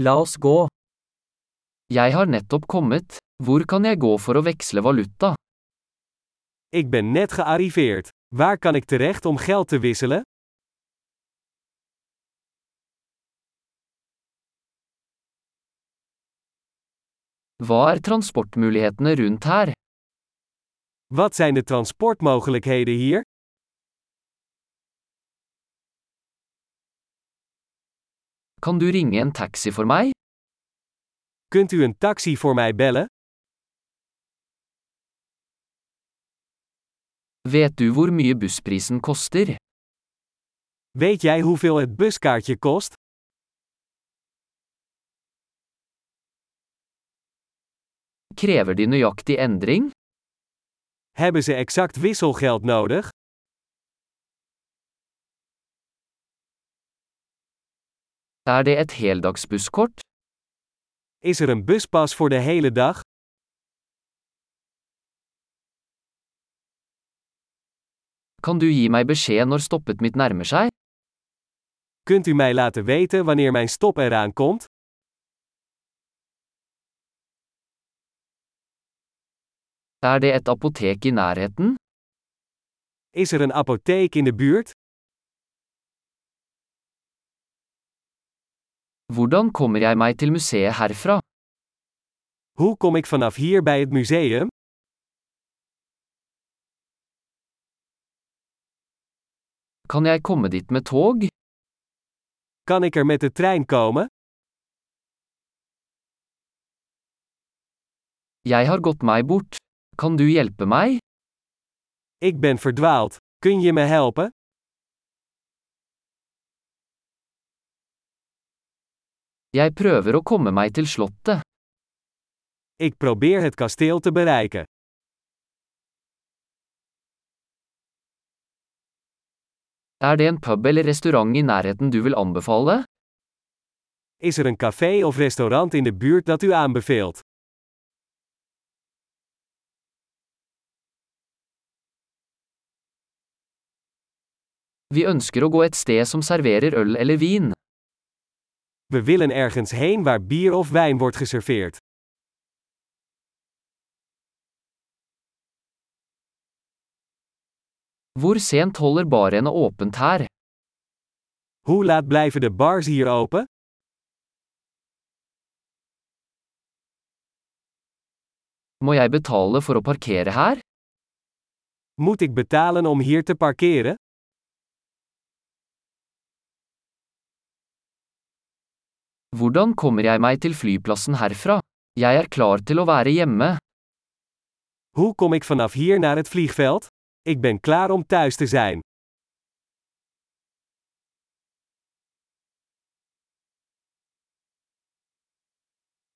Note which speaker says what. Speaker 1: La oss gå. Jeg har nettopp kommet. Hvor kan jeg gå for å veksle valuta?
Speaker 2: Ik ben net gearriveerd. Waar kan ik terecht om geld te wisselen?
Speaker 1: Hva er transportmulighetene rundt her?
Speaker 2: Wat zijn de transportmogelijkheden hier?
Speaker 1: Kan du ringe en taxi for meg?
Speaker 2: Kunt u een taxi voor mij bellen?
Speaker 1: Vet du hvor mye bussprisen koster?
Speaker 2: Weet jij hoeveel het buskaartje kost?
Speaker 1: Krever de nøyaktig endring?
Speaker 2: Hebben ze exact wisselgeld nodig?
Speaker 1: Er det et heldagsbusskort?
Speaker 2: Is er een buspas voor de hele dag?
Speaker 1: Kan du gi meg beskjed når stoppet mitt nærmer seg?
Speaker 2: Kunt u mij laten weten wanneer mijn stop eraan komt?
Speaker 1: Er det et apotek i nærheten?
Speaker 2: Is er een apotheek in de buurt?
Speaker 1: Hvordan kommer jeg meg til museet herfra?
Speaker 2: Hoe kom ik vanaf hier bij het museum?
Speaker 1: Kan jeg komme dit med tog?
Speaker 2: Kan ik er met de trein komen?
Speaker 1: Jeg har gått meg bort. Kan du hjelpe meg?
Speaker 2: Ik ben verdwaald. Kun je me helpen?
Speaker 1: Jeg prøver å komme meg til slottet.
Speaker 2: Ik probeer het kasteel te bereiken.
Speaker 1: Er det en pub eller restaurant i nærheten du vil anbefale?
Speaker 2: Is er een café of restaurant in de buurt dat u aanbeveelt?
Speaker 1: Vi ønsker å gå et sted som serverer øl eller vin.
Speaker 2: We willen ergens heen waar bier of wijn wordt geserveerd.
Speaker 1: Hvor sent holder barene åpent her?
Speaker 2: Hoe laat blijven de bars hier open?
Speaker 1: Må jeg betale for å parkere her?
Speaker 2: Moet ik betalen om hier te parkeren?
Speaker 1: Hvordan kommer jeg meg til flyplassen herfra? Jeg er klar til å være hjemme.
Speaker 2: Hoe kom ik vanaf hier naar het vliegveld? Ik ben klaar om thuis te zijn.